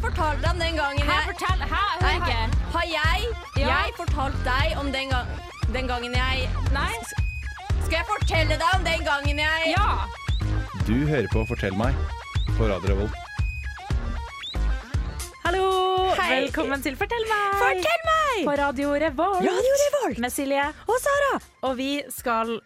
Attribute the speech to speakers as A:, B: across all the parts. A: fortalte deg om den gangen
B: Hæ,
A: jeg
B: fortell! Hæ,
A: Nei,
B: hør ikke!
A: har, har jeg
B: Ja.
A: Jeg fortalt deg om den, gang, den gangen jeg
B: Nei?
A: Skal jeg fortelle deg om den gangen jeg
B: Ja!
C: Du hører på Fortell meg på Radio Revolt.
B: Hallo!
A: Hei.
B: Velkommen til Fortell meg!
A: Fortell meg!
B: På Radio Revolt.
A: Radio Revolt.
B: Med Silje.
A: Og Sara!
B: Og vi skal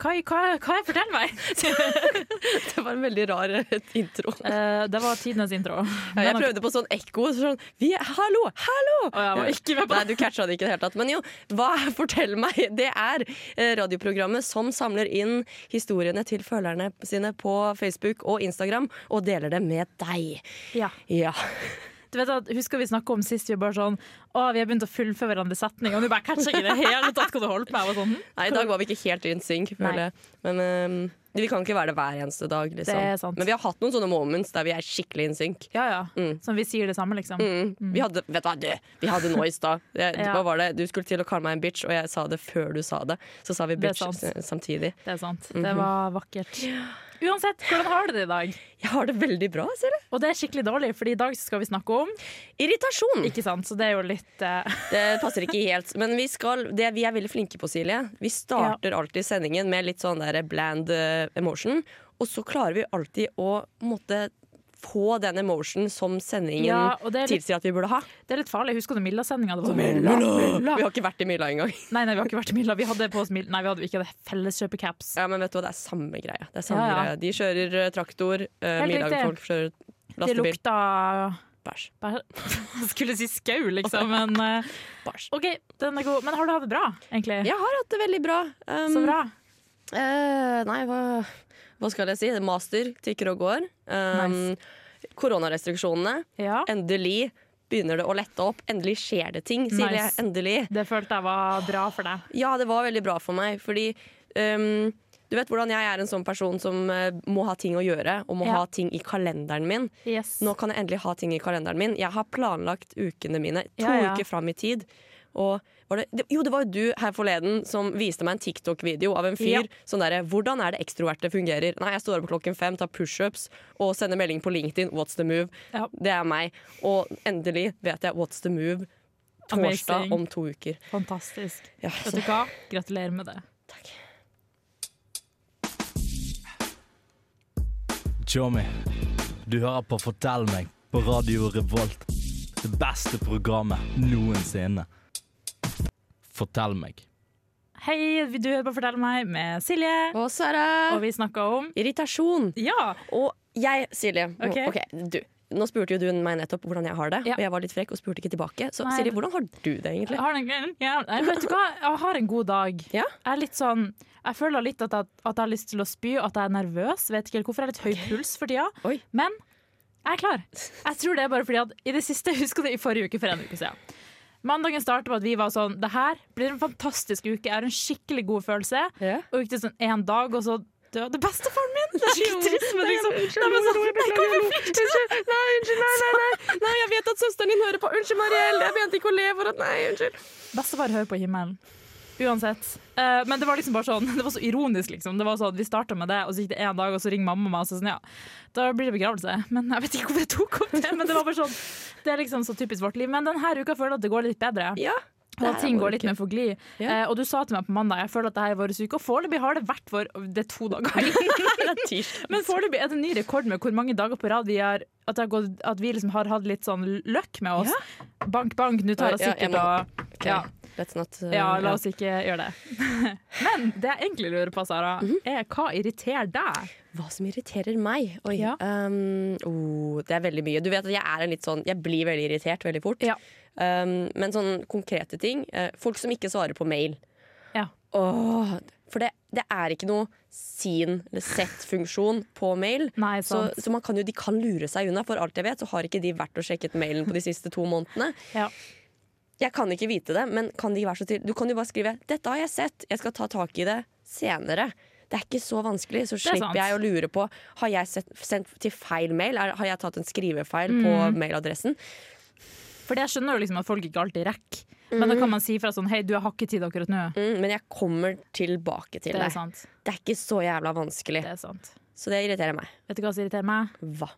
B: Hva, hva, hva er Fortell meg?
D: Det var en veldig rar eh, intro.
B: Eh, det var tidenes intro.
D: Ja, jeg prøvde på sånn ekko. Sånn, vi er, hallo, hallo!
B: jeg var ikke med på
D: Nei, du catcha det ikke i det hele tatt. Men jo, hva er Fortell meg? Det er eh, radioprogrammet som samler inn historiene til følgerne sine på Facebook og Instagram, og deler det med deg.
B: Ja.
D: Ja.
B: Du vet at, Husker vi snakka om sist vi bare sånn Å, vi har begynt å fullføre hverandre setning, og du bare catcha ikke i det hele tatt hva du holdt på med. Jeg var Sånn, hm,
D: Nei, i dag var vi ikke helt in sync, føler
B: Nei.
D: jeg. Men eh, vi kan ikke være det hver eneste dag, liksom.
B: Det er sant.
D: Men vi har hatt noen sånne moments der vi er skikkelig in sync.
B: ja, ja. Som vi sier det samme, liksom.
D: Mm. Vi hadde, vet du hva, du, vi hadde nå i stad. Det-
B: Ja.
D: Hva var det? Du skulle til å kalle meg en bitch, og jeg sa det før du sa det. Så sa vi
B: Det er
D: bitch
B: sant.
D: s- samtidig.
B: Det er sant. Det var vakkert. Uansett, hvordan har du det i dag?
D: Jeg har det veldig bra, ser du.
B: Og det er skikkelig dårlig, for i dag så skal vi snakke om
D: Irritasjon!
B: Ikke sant? Så det er jo litt eh,
D: Det passer ikke helt. Men vi, skal, det vi er veldig flinke på, Silje, vi starter alltid sendingen med litt sånn der bland eh, emotion, og så klarer vi alltid å på en måte få den emotion som sendingen
B: Ja, og det er litt-
D: tilsier at vi burde ha.
B: Det er litt farlig. Husker du Milla-sendinga?
D: Vi har ikke vært i Milla engang.
B: Nei, nei, vi har ikke vært i Milla. Vi hadde på oss Milla. Nei, vi hadde ikke det felleskjøpecaps.
D: Ja, men vet du hva, det er samme greia. Det er samme
B: Ja, ja.
D: greia. De kjører eh, traktor, uh,
B: Helt riktig.
D: Milla-folk kjører
B: Det
D: lastebil.
B: lukta
D: Bæsj.
B: bare- Skulle si skau, liksom, men eh,
D: Bæsj.
B: OK, den er god. Men har du hatt det bra, egentlig?
D: Jeg har hatt det veldig bra. Um,
B: Så bra.
D: eh, nei, hva, hva skal jeg si? Master tikker og går. Um, Koronarestriksjonene.
B: Ja.
D: Endelig begynner det å lette opp. Endelig skjer det ting, Silje.
B: Nice.
D: Endelig.
B: Det følte jeg var bra for deg.
D: Ja, det var veldig bra for meg, fordi um, du vet hvordan jeg er en sånn person som eh, må ha ting å gjøre, og må
B: Ja.
D: ha ting i kalenderen min.
B: Yes.
D: Nå kan jeg endelig ha ting i kalenderen min. Jeg har planlagt ukene mine to
B: Ja, ja.
D: uker fram i tid. Og var det, det, jo, det var jo du her forleden som viste meg en TikTok-video av en fyr.
B: Ja.
D: Sånn derre 'Hvordan er det ekstroverte fungerer?' Nei, jeg står opp klokken fem, tar pushups og sender melding på LinkedIn. 'What's the move?'
B: Ja.
D: Det er meg. Og endelig vet jeg 'What's the move?' torsdag
B: Amazing.
D: om to uker.
B: Fantastisk.
D: Ja,
B: Vet du hva? Gratulerer med det.
E: Tjommi, du hører på Fortell meg på Radio Revolt. Det beste programmet noensinne. Fortell meg.
B: Hei, du hører på Fortell meg med Silje,
D: Og
B: og
D: Sara!
B: vi snakka om
D: Irritasjon.
B: Ja!
D: Og jeg, Silje nå-
B: Ok.
D: ok, du nå spurte jo du meg nettopp hvordan jeg har det,
B: Ja.
D: og jeg var litt frekk og spurte ikke tilbake. Så
B: Nei.
D: Silje, hvordan har du det egentlig?
B: Jeg har en, ja, nei, vet du hva? Jeg har en god dag.
D: Ja.
B: Jeg er litt sånn Jeg føler litt at jeg, at jeg har lyst til å spy, at jeg er nervøs. Vet ikke helt hvorfor. Jeg har litt høy puls for tida.
D: Oi.
B: Men jeg er klar. Jeg tror det er bare fordi at i det siste Husker du i forrige uke for en uke siden? Mandagen startet med at vi var sånn Det her blir en fantastisk uke. Jeg har en skikkelig god følelse.
D: Ja.
B: Og gikk det sånn én dag, og så døde bestefaren min! Det er skikkelig trist, men liksom
D: Unnskyld,
B: Nei, men sånn,
D: Maria,
B: nei,
D: beklager,
B: kom,
D: hallo. Unnskyld, Nei, unnskyld, nei, nei, nei. Nei, jeg vet at søsteren din hører på. Unnskyld, Mariell. Jeg mente ikke å le for at Nei, unnskyld.
B: Bestefar hører på himmelen. Uansett. Eh, men det var liksom bare sånn Det var så ironisk, liksom. Det var sånn, Vi starta med det, og så gikk det en dag, og så ringer mamma meg og så sånn, ja, da blir det begravelse. Men jeg vet ikke hvorfor jeg tok opp det. Men det var bare sånn Det er liksom så typisk vårt liv. Men denne uka føler jeg at det går litt bedre.
D: Ja.
B: Og at ting går litt mer for glid.
D: Ja.
B: Eh, og du sa til meg på mandag jeg føler at det her er vår uke, og foreløpig har det vært vår Det er to dager. Men foreløpig er det en ny rekord med hvor mange dager på rad vi har at, det har gått, at vi liksom har hatt litt sånn løkk med oss. Bank, bank, nå tar jeg
D: Ja, jeg
B: sikkert
D: må-
B: og Ja.
D: Let's not uh,
B: ja, la oss ikke gjøre det. Men det jeg egentlig lurer på, Sara,
D: Mhm.
B: er hva irriterer deg?
D: Hva som irriterer meg? Oi.
B: Ja.
D: Um, oh, det er veldig mye. Du vet at jeg er en litt sånn Jeg blir veldig irritert veldig fort.
B: Ja.
D: Um, men sånn konkrete ting eh, Folk som ikke svarer på mail.
B: Ja.
D: Åh, for det, det er ikke noe sin- eller sett-funksjon på mail.
B: Nei,
D: så
B: sant.
D: så man kan jo, de kan lure seg unna. For alt jeg vet, så har ikke de vært og sjekket mailen på de siste to månedene.
B: Ja.
D: Jeg kan ikke vite det, men kan de være så til? du kan jo bare skrive 'Dette har jeg sett, jeg skal ta tak i det senere'. Det er ikke så vanskelig, så
B: er sant.
D: slipper jeg å lure på Har jeg sett, sendt til feil mail. Er, har jeg tatt en skrivefeil
B: Mm.
D: på mailadressen?
B: For jeg skjønner jo liksom at folk ikke alltid rekker. Men da kan man si fra sånn hei, du jeg har ikke tid akkurat nå.
D: Mhm. Mm, men jeg kommer tilbake til
B: Det er
D: deg.
B: sant.
D: Det er ikke så jævla vanskelig.
B: Det er sant.
D: Så det irriterer meg.
B: Vet du hva som irriterer meg?
D: Hva?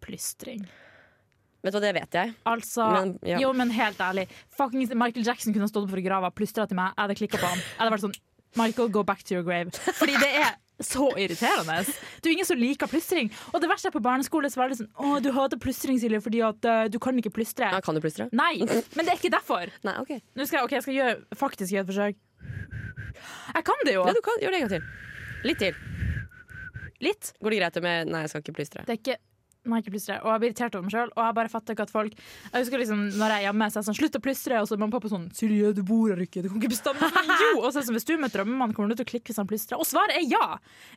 B: Plystring.
D: Vet du hva, det vet jeg.
B: Altså,
D: Men, ja.
B: Jo, men helt ærlig. Fuckings Michael Jackson kunne ha stått opp fra grava, plystra til meg, jeg hadde klikka på han. Jeg hadde vært sånn Michael, go back to your grave. Fordi det er så irriterende. Du er ingen som liker plystring. Og det verste er på barneskole så var det sånn Å, du hater plystring, Silje, fordi at eh, du kan ikke plystre.
D: Ja, kan du plystre?
B: Nei, men det er ikke derfor.
D: Nei, OK.
B: Nå skal jeg, ok, jeg skal gjøre, faktisk gjøre et forsøk. Jeg kan det jo.
D: Ja, du kan. Gjør det en gang til. Litt til.
B: Litt.
D: Går det greit med Nei, jeg skal ikke plystre.
B: Det er ikke Nei, ikke plystre. Og jeg blir irritert over meg sjøl. Og jeg bare fatter ikke at folk Jeg husker liksom når jeg er hjemme, så er jeg sånn Slutt å plystre! Og så er mamma og pappa sånn Silje, du bor her ikke, du kan ikke bestemme meg. Jo! Og så er det sånn, hvis du møter drømmemannen, kommer du til å klikke hvis han plystrer? Og svaret er ja!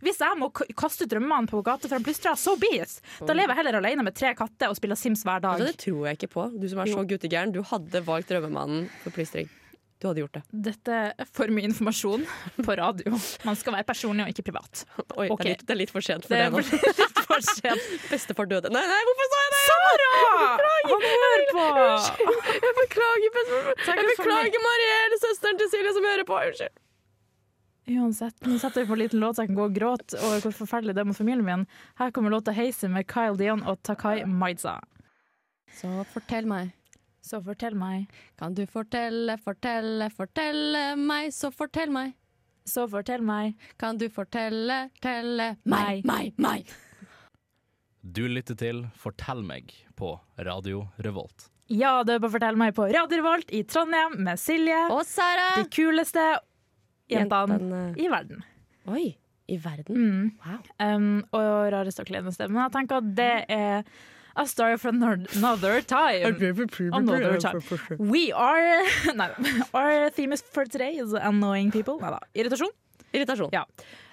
B: Hvis jeg må k- kaste ut drømmemannen på gata for han plystrer, so be it! Da lever jeg heller alene med tre katter og spiller Sims hver dag.
D: Altså, det tror jeg ikke på. Du som er så guttegæren. Du hadde valgt drømmemannen for plystring. Du hadde gjort det.
B: Dette er for mye informasjon på radio. Man skal være personlig og ikke privat.
D: Oi,
B: Ok.
D: det, er litt, det er litt for sent for
B: Det
D: det,
B: er
D: nå.
B: for- litt for sent.
D: Bestefar døde. Nei, nei, hvorfor sa jeg det?
B: Sara! Han hører på!
D: Jeg beklager, bestefar.
B: Takk
D: Jeg
B: for meg.
D: beklager Mariell, søsteren til Silje som hører på. Unnskyld.
B: Uansett, nå setter vi på en liten låt så jeg kan gå og gråte over hvor forferdelig det er mot familien min. Her kommer låta 'Hazy' med Kyle Dion og Takai Maiza.
F: Så fortell meg,
B: Så fortell meg,
F: kan du fortelle, fortelle, fortelle meg, så fortell meg.
B: så fortell meg.
F: Kan du fortelle, telle meg,
B: Meg.
F: meg, meg.
E: Du lytter til Fortell meg på Radio Revolt.
B: Ja, du er på Fortell meg på Radio Revolt i Trondheim med Silje.
F: Og Sara!
B: De kuleste jentene
D: Jentene.
B: i verden.
D: um, Oi, i verden.
B: Mm.
D: Wow.
B: Um, og rareste og kleneste. Men jeg tenker at det er A story from another time. Another time. We are Nei, our theme is for today is annoying people. Neida. Irritasjon.
D: Irritasjon.
B: Ja.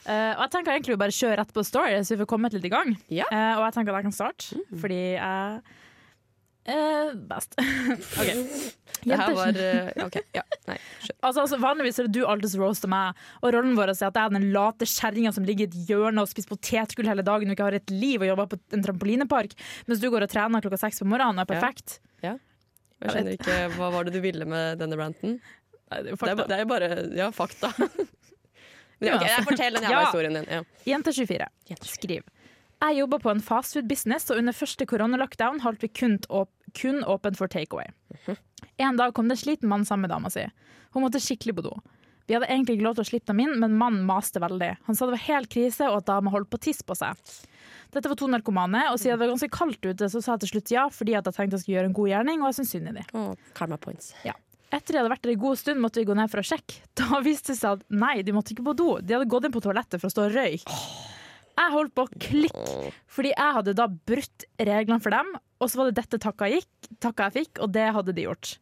B: Eh, og jeg tenker egentlig å bare kjøre rett på story, så vi får kommet litt i gang.
D: Ja.
B: Eh, og jeg tenker at jeg kan starte, fordi jeg er best. OK.
D: Det her
B: Jenter.
D: var eh, OK. Ja. Nei, skjønner.
B: Altså, altså, vanligvis er det du alltid som roaster meg, og rollen vår er at jeg er den late kjerringa som ligger i et hjørne og spiser potetgull hele dagen og ikke har et liv og jobber på en trampolinepark, mens du går og trener klokka seks på morgenen og er
D: Ja.
B: perfekt.
D: Jeg skjønner ikke hva var det du ville med denne ranten.
B: Nei, det er jo
D: Det er,
B: fakta.
D: ba- det er bare Ja, fakta. Men ja, ok, jeg Fortell den jævla
B: Ja.
D: historien din. Ja.
B: Jente 24.
D: Jente 24.
B: Skriv. Jeg jobba på en fastfood-business, og under første koronalockdown holdt vi kun, åp kun åpent for takeaway. En dag kom det en sliten mann sammen med dama si. Hun måtte skikkelig på do. Vi hadde egentlig ikke lov til å slippe dem inn, men mannen maste veldig. Han sa det var helt krise, og at dama holdt på å tisse på seg. Dette var to narkomane, og siden det var ganske kaldt ute, så sa jeg til slutt ja, fordi at jeg tenkte jeg skulle gjøre en god gjerning, og jeg syntes synd i dem.
D: Å, karma points.
B: Ja. Etter de hadde vært der i god stund, måtte vi gå ned for å sjekke. Da viste det seg at nei, de måtte ikke på do. De hadde gått inn på toalettet for å stå og røyke. Jeg holdt på å klikke, fordi jeg hadde da brutt reglene for dem. Og så var det dette takka, jeg gikk, takka jeg fikk, og det hadde de gjort.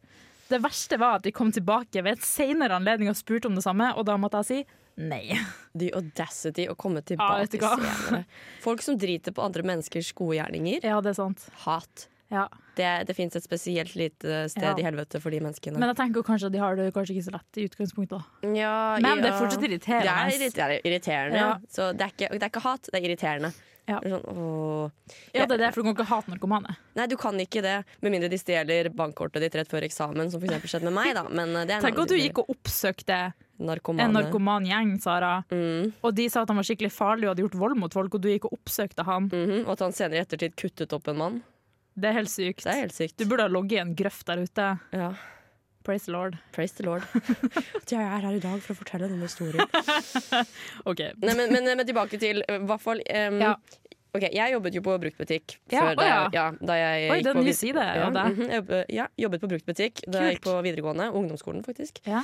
B: Det verste var at de kom tilbake ved et senere anledning og spurte om det samme, og da måtte jeg si nei.
D: The audacity å komme
B: Ja,
D: tilbake
B: vet du hva?
D: senere. Folk som driter på andre menneskers gode gjerninger.
B: Ja, det er sant.
D: Hat.
B: Ja.
D: Det, det fins et spesielt lite eh, sted
B: Ja.
D: i helvete for de menneskene.
B: Men jeg tenker kanskje at de har det kanskje ikke så lett i utgangspunktet. da.
D: Ja,
B: Men det er
D: ja.
B: fortsatt irriterende.
D: Det er irri- det er irriterende.
B: Ja.
D: Så det er, ikke, det er ikke hat, det er irriterende.
B: Ja.
D: Det er Sånn, åh.
B: Ja, det er derfor du kan ikke hate narkomane.
D: Nei, du kan ikke det, med mindre de stjeler bankkortet ditt rett før eksamen, som for eksempel skjedde med meg. da Men eh, det er en
B: Tenk
D: annen
B: at du
D: side.
B: gikk og oppsøkte
D: narkomane.
B: en narkoman gjeng, Sara.
D: Mm.
B: Og de sa at han var skikkelig farlig og hadde gjort vold mot folk, og du gikk og oppsøkte han.
D: Mhm, Og at han senere i ettertid kuttet opp en mann.
B: Det er helt sykt.
D: Det er helt sykt.
B: Du burde ha ligget i en grøft der ute.
D: Ja.
B: Praise the lord.
D: Praise the lord. At jeg er her i dag for å fortelle denne historien.
B: OK.
D: Nei, men, men, men tilbake til eh, hvert fall em,
B: Ja.
D: Ok, Jeg jobbet jo på bruktbutikk
B: Ja,
D: før
B: å
D: da,
B: ja.
D: jeg- ja, da jeg
B: Oi,
D: gikk
B: det er
D: på
B: en ny
D: vid-
B: side
D: ja,
B: av deg.
D: mhm, jeg jobbet- ja, jobbet på bruktbutikk da jeg gikk
B: Kult.
D: på videregående. Ungdomsskolen, faktisk.
B: Ja.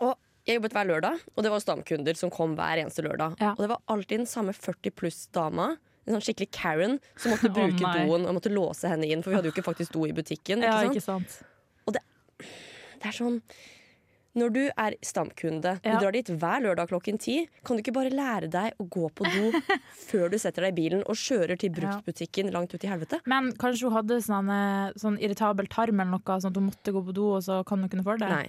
D: Og jeg jobbet hver lørdag, og det var stamkunder som kom hver eneste lørdag.
B: Ja.
D: Og det var alltid den samme 40 pluss-dama. En sånn skikkelig Karen som måtte
B: Å,
D: bruke
B: nei.
D: doen og måtte låse henne inn. For vi hadde jo ikke faktisk do i butikken.
B: Ja,
D: Ikke
B: ikke
D: sant?
B: sant?
D: Det er sånn Når du er stamkunde,
B: Ja.
D: du drar dit hver lørdag klokken ti, kan du ikke bare lære deg å gå på do før du setter deg i bilen og kjører til
B: Ja.
D: bruktbutikken langt ut i helvete?
B: Men kanskje hun hadde sånn, eh, sånn irritabel tarm eller noe, sånn at hun måtte gå på do, og så kan hun kunne få det?
D: Nei.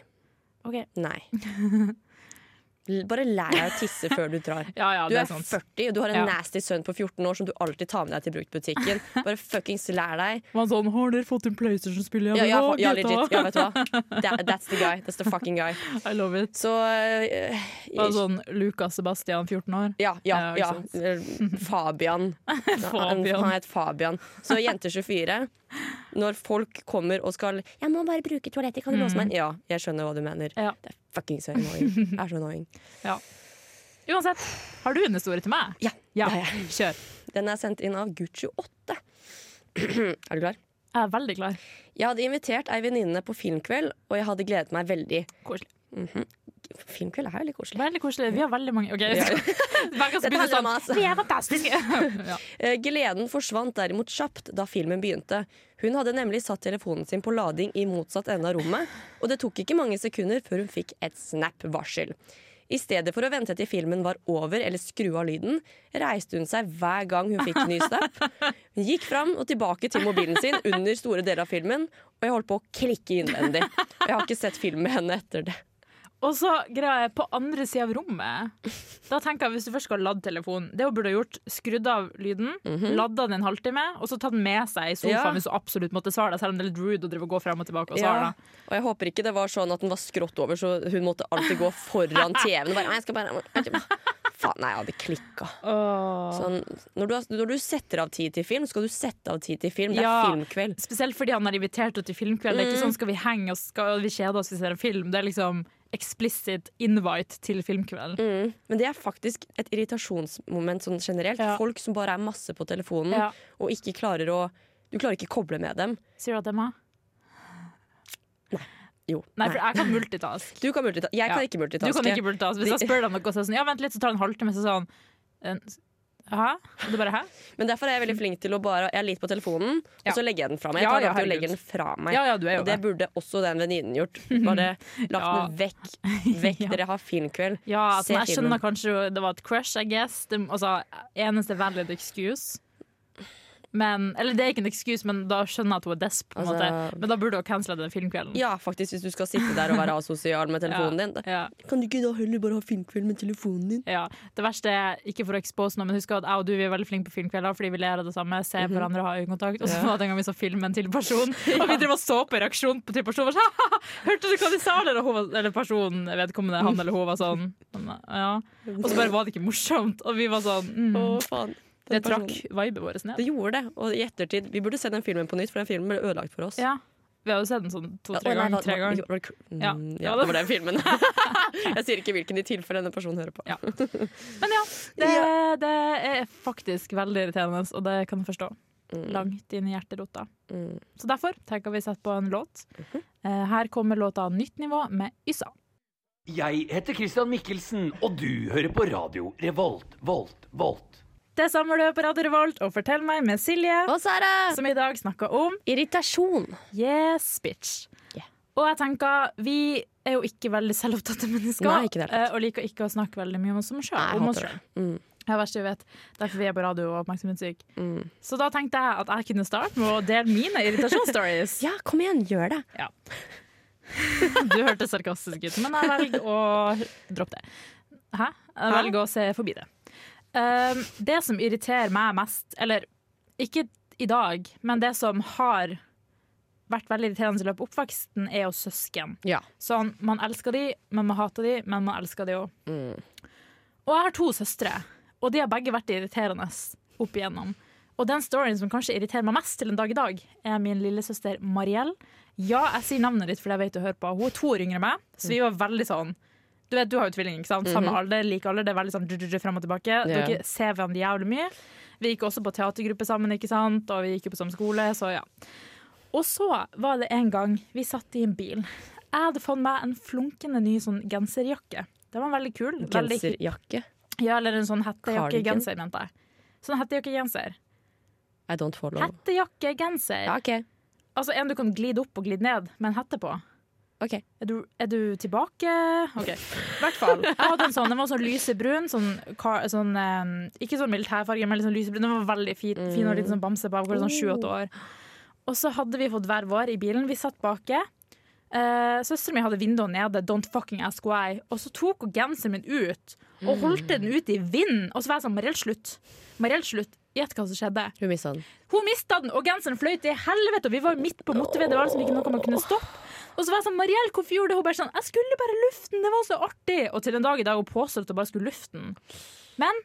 B: Ok.
D: Nei. L- Bare lær deg å tisse før du drar.
B: Ja, ja,
D: Du
B: det
D: er
B: er sant.
D: 40, og du har en
B: Ja.
D: nasty sønn på 14 år som du alltid tar med deg til bruktbutikken. Bare fuckings lær deg.
B: Man sånn, har dere fått en PlayStation-spill?
D: Ja, ja,
B: det
D: ja
B: var gutta.
D: legit. Ja, vet du hva. That, that's the guy. That's the fucking guy.
B: I love it.
D: Så eh,
B: Bare sånn Lukas Sebastian, 14 år.
D: ja, ja,
B: Ja, ikke
D: ja. Eh,
B: sant.
D: Fabian. Han-
B: Fabian.
D: Han het Fabian. Så jente 24. når folk kommer og skal 'Jeg må bare bruke toalettet, kan du låse meg?' inn?» Ja, jeg skjønner hva du mener.
B: Mm. Ja.
D: Det er fuckings så annoying. Det er så annoying.
B: Uansett, har du en historie til meg?
D: Ja,
B: Ja,
D: det har
B: kjør.
D: Den er sendt inn av Gucci8. er du klar?
B: Jeg er veldig klar.
D: Jeg hadde invitert ei venninne på filmkveld, og jeg hadde gledet meg veldig.
B: Koselig.
D: Mhm. Filmkveld er jo litt koselig.
B: Veldig koselig. Vi har veldig mange OK.
D: Ja.
B: Hver gang så
D: Dette
B: begynner
D: handler om
B: sånn
D: oss.
B: Vi er fantastiske! ja.
D: Eh, Gleden forsvant derimot kjapt da filmen begynte. Hun hadde nemlig satt telefonen sin på lading i motsatt ende av rommet, og det tok ikke mange sekunder før hun fikk et snap-varsel. I stedet for å vente til filmen var over eller skru av lyden, reiste hun seg hver gang hun fikk en ny snap. Hun gikk fram og tilbake til mobilen sin under store deler av filmen, og jeg holdt på å klikke innvendig. Og jeg har ikke sett film med henne etter det.
B: Og så greia er på andre sida av rommet. Da tenker jeg Hvis du først skal lade telefonen Det hun burde ha gjort, skrudd av lyden, ladda den en halvtime, og så tatt den med seg i sofaen
D: Mhm. Ja.
B: hvis du absolutt måtte svare deg, selv om det er litt rude å drive og gå frem og tilbake og svare.
D: Ja. Og jeg håper ikke det var sånn at den var skrått over, så hun måtte alltid gå foran TV-en. og Bare, «Nei, jeg skal bare Faen, nei, jeg hadde klikka.
B: Åh.
D: Sånn, når, du, har- når du setter av tid til film, skal du sette av tid til film. Det er
B: Ja.
D: filmkveld.
B: Spesielt fordi han har invitert henne til filmkveld. Det er
D: Mm.
B: ikke sånn skal vi henge og skal vi kjede oss hvis vi ser en film. Det er liksom explicit invite til filmkveld.
D: Mm. Men det er faktisk et irritasjonsmoment sånn generelt.
B: Ja.
D: Folk som bare er masse på telefonen
B: Ja.
D: og ikke klarer å Du klarer ikke å koble med dem.
B: Sier du at det er meg?
D: Jo.
B: Nei, for jeg kan multitask.
D: Du kan multitaske. Jeg kan
B: Ja.
D: ikke
B: Du
D: multitaske.
B: kan ikke multitask. Hvis jeg spør deg om noe, så er det sånn Ja, vent litt, så tar det en halvtime, så sånn «En- Hæ? Og du bare hæ?
D: Men derfor er jeg veldig flink til å bare Jeg er litt på telefonen,
B: Mm. Ja.
D: og så legger jeg den fra meg. Jeg
B: Ja,
D: tar
B: ja,
D: den til å
B: herregud.
D: legge den fra meg.
B: Ja, ja, du er jo
D: Og det
B: det.
D: burde også den venninnen gjort. Bare lagt
B: Ja.
D: den vekk. Vekk, dere har filmkveld.
B: Ja, altså,
D: Se
B: jeg
D: filmen.
B: skjønner kanskje det var et crush, I guess. Det, altså, eneste valid excuse. Men, eller det er ikke en excuse, men da skjønner jeg at hun er desp. På en
D: Altså-
B: måte. Men da burde hun cancele den filmkvelden.
D: Ja, faktisk, hvis du skal sitte der og være asosial med telefonen din. Da.
B: Ja,
D: Kan du ikke da heller bare ha filmkveld med telefonen din?
B: ja. Det verste er, ikke for å expose noe, men husk at jeg og du vi er veldig flinke på filmkvelder fordi vi ler av det samme, ser
D: Mhm.
B: hverandre, har øyekontakt. Og så var det en gang vi så filmen til person, og vi drev og så på reaksjonen på til personen. Var sånn, Hørte du hva de sa? Eller, hun var, eller personen, vedkommende, han eller hun, var sånn. Ja. Og så bare var det ikke morsomt, og vi var sånn mm.
D: Å, faen. Den
B: Det trakk
D: personen-
B: viben vår ned.
D: Det gjorde det. Og i ettertid Vi burde se den filmen på nytt, for den filmen ble ødelagt for oss.
B: Ja. Vi har jo sett den sånn to-tre
D: Å, nei,
B: ganger.
D: hva-
B: Tre
D: hva-
B: ganger.
D: var det- mm,
B: Ja.
D: ja, det var den filmen. jeg sier ikke hvilken i tilfelle denne personen hører på.
B: Ja. Men ja, det, det er faktisk veldig irriterende, og det kan jeg forstå. Langt inn i hjerterota.
D: Mm.
B: Så derfor tenker vi sette på en låt. Eh, Her kommer låta 'Nytt nivå' med Yssa.
G: Jeg heter Christian Mikkelsen, og du hører på radio Revolt, Volt, Volt.
B: Det samme du hører på Radio Revolt, og fortell meg med Silje,
D: Og Sara!
B: som i dag snakker om
D: Irritasjon.
B: Yes, bitch.
D: Yeah.
B: Og jeg tenker, vi er jo ikke veldig selvopptatte mennesker,
D: Nei, ikke det helt.
B: eh, og liker ikke å snakke veldig mye om oss selv.
D: Nei, jeg
B: om oss
D: hater
B: selv.
D: Mm.
B: Det er det verste jeg vet. Derfor vi er på radio og oppmerksomhetssyk.
D: Mm.
B: Så da tenkte jeg at jeg kunne starte med å dele mine irritasjonsstories.
D: Ja, kom igjen, gjør det.
B: Du hørte sarkastisk ut, men jeg velger å droppe det. Hæ? Jeg velger å se forbi det. Um, det som irriterer meg mest, eller ikke i dag, men det som har vært veldig irriterende i løpet av oppveksten, er jo søsken.
D: Ja.
B: Sånn, man elsker de, men man hater de, men man elsker de òg. Og jeg har to søstre, og de har begge vært irriterende opp igjennom. Og den storyen som kanskje irriterer meg mest til en dag i dag, er min lillesøster Mariell. Ja, jeg sier navnet ditt fordi jeg vet du hører på. Hun er to år yngre enn meg, så vi var veldig sånn Du vet, du har jo tvilling, ikke sant? Samme alder, lik alder. Det er veldig sånn dr-dr-dr fram og tilbake. Dere ser hverandre jævlig mye. Vi gikk også på teatergruppe sammen, ikke sant? og vi gikk jo på samme skole, så ja. Og så var det en gang vi satt i en bil. Jeg hadde fått meg en flunkende ny sånn genserjakke. Den var veldig kul. Veldig,
D: Genserjakke.
B: ja, eller en sånn
D: Cardigan?
B: hettejakkegenser, mente jeg. Sånn hettejakkegenser.
D: I don't follow.
B: Hettejakkegenser!
D: Ja, ok.
B: Altså en du kan glide opp og glide ned med en hette på.
D: Ok.
B: Er du, er du tilbake? OK. I hvert fall. Jeg hadde en sånn, den var sånn lysebrun. Sånn, ka- sånn, eh, ikke sånn militærfarge, men litt sånn lysebrun. Den var veldig fin, fin og litt sånn bamse på. Akkurat sånn sju-åtte år. Og så hadde vi fått hver vår i bilen. Vi satt baki. Uh, Søsteren min hadde vinduet nede, don't fucking ask why. Og så tok hun genseren min ut og holdt den ut i vinden. Og så var jeg sånn, Mariell, slutt. Mariell, slutt. Gjett hva som skjedde.
D: Hun mista den.
B: Hun mista den, og genseren fløy til helvete, og vi var jo midt på motorveien. Det var liksom ikke noe man kunne stoppe. Og så var jeg sånn, Mariell, hvorfor gjorde du det? Hun bare sånn, jeg skulle bare lufte den, det var så artig. Og til en dag i dag hun påstår at hun bare skulle lufte den. Men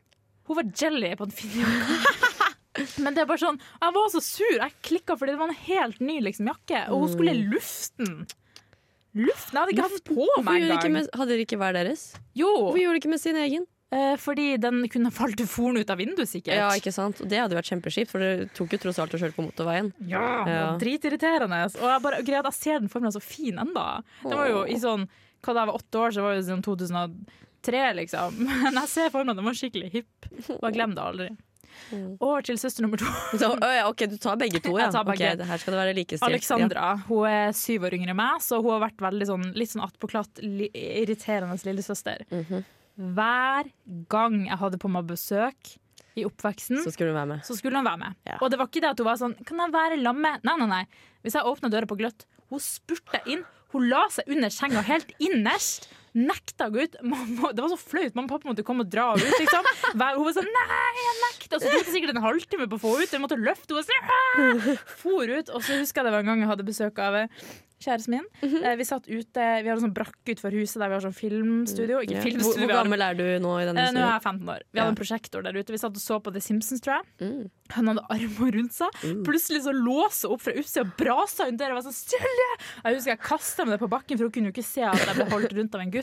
B: hun var jelly på den fine jakka. Men det er bare sånn, jeg var så sur. Jeg klikka fordi det var en helt ny liksom, jakke, og hun skulle lufte den. Luften? Jeg hadde ikke hatt på
D: Mm. Hvorfor
B: meg
D: gjorde de ikke
B: engang.
D: med, hadde dere ikke hver deres?
B: Jo,
D: Hvorfor gjorde de ikke med sin egen?
B: eh, fordi den kunne falt foren ut av vinduet, sikkert.
D: Ja, ikke sant? Og Det hadde vært kjempeskipt, for dere tok jo tross alt og kjørte på motorveien.
B: Ja, det var
D: Ja.
B: dritirriterende. Og jeg bare, greia, er at jeg ser den for meg så fin enda. Det var jo i sånn, hva da jeg var åtte år, så var det sånn 2003 liksom. Men jeg ser for meg at den var skikkelig hipp. Og jeg glemmer det aldri. Over til søster nummer to,
D: Så, å, ja, ok, du tar begge to, ja.
B: Jeg tar begge.
D: Ok, det her skal det være likestilt.
B: Alexandra. Hun er syv år yngre enn meg, så hun har vært veldig sånn, litt sånn attpåklatt, li irriterende lillesøster. Hver gang jeg hadde på meg besøk i oppveksten,
D: Ja. Så skulle du være med.
B: så skulle hun være med.
D: Ja.
B: Og det var ikke det at hun var sånn Kan jeg være lamme? Nei, nei, nei. Hvis jeg åpna døra på gløtt Hun spurta inn. Hun la seg under senga helt innerst. Nekta å gå ut. Mamma, det var så flaut. Mamma og pappa måtte komme og dra henne ut. Liksom. Hver, hun var sånn Nei, jeg nekta. Så tok det sikkert en halvtime på å få henne ut. Jeg måtte løfte henne. og sånn, «Ah!» For ut. Og så husker jeg det var en gang jeg hadde besøk av eh, kjæresten min.
D: Mhm.
B: Eh, Vi satt ute, vi har en sånn brakke utenfor huset der vi har sånn filmstudio. Ikke
D: Mm. Ja.
B: filmstudio,
D: Hvor, hvor
B: vi har-
D: gammel er du nå i denne
B: Eh, Nå er
D: historien?
B: jeg 15 år. Vi hadde en prosjektor der ute. Vi satt og så på The Simpsons, tror jeg. Han hadde armene rundt seg. Plutselig så låser hun opp fra utsida og braser rundt der. Jeg var sånn, Silje! Jeg husker jeg kasta meg ned på bakken, for hun kunne jo ikke se at jeg ble holdt rundt av en gutt.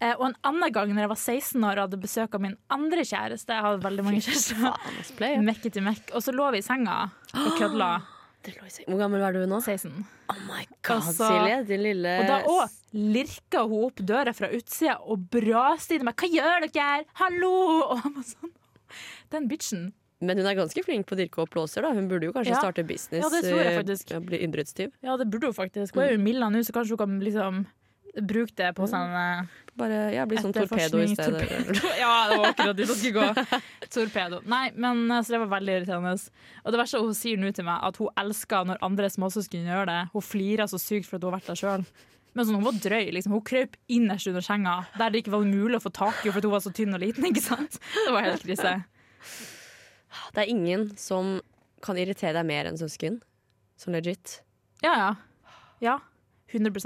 B: eh, og en annen gang når jeg var 16 år og hadde besøk av min andre kjæreste, jeg hadde veldig mange kjærester,
D: Play, ja.
B: Mekke til Mekk, og så lå vi i senga og kødla.
D: Det lå i seg- Hvor gammel er du nå?
B: 16.
D: Oh my god,
B: Altså,
D: Silje, din lille
B: Og da òg lirka hun opp døra fra utsida og braste inn i meg. 'Hva gjør dere? Hallo!' Og han var sånn Den bitchen.
D: Men hun er ganske flink på å dirke opp låser, da. Hun burde jo kanskje
B: Ja.
D: starte business.
B: Ja, det tror jeg
D: eh,
B: faktisk.
D: ja, Bli innbruddstyv.
B: Ja, det burde hun faktisk. Hun er jo
D: Mm.
B: Milla nå, så kanskje hun kan liksom bruke det på sånn eh,
D: Bare ja, bli sånn torpedo i
B: etterforskning.
D: stedet.
B: Torpedo. Ja, det var akkurat dit det skulle gå. Torpedo. Nei, men eh, så det var veldig irriterende. Og det verste er at hun sier nå til meg at hun elsker når andre småsøsken gjør det. Hun flirer så sykt for at hun har vært der sjøl. Men sånn, hun var drøy. liksom. Hun krøp innerst under senga, der det ikke var mulig å få tak i henne fordi hun var så tynn og liten. ikke sant? Det var helt krise.
D: Det er ingen som kan irritere deg mer enn søsken. Sånn legit.
B: Ja, ja. Ja, 100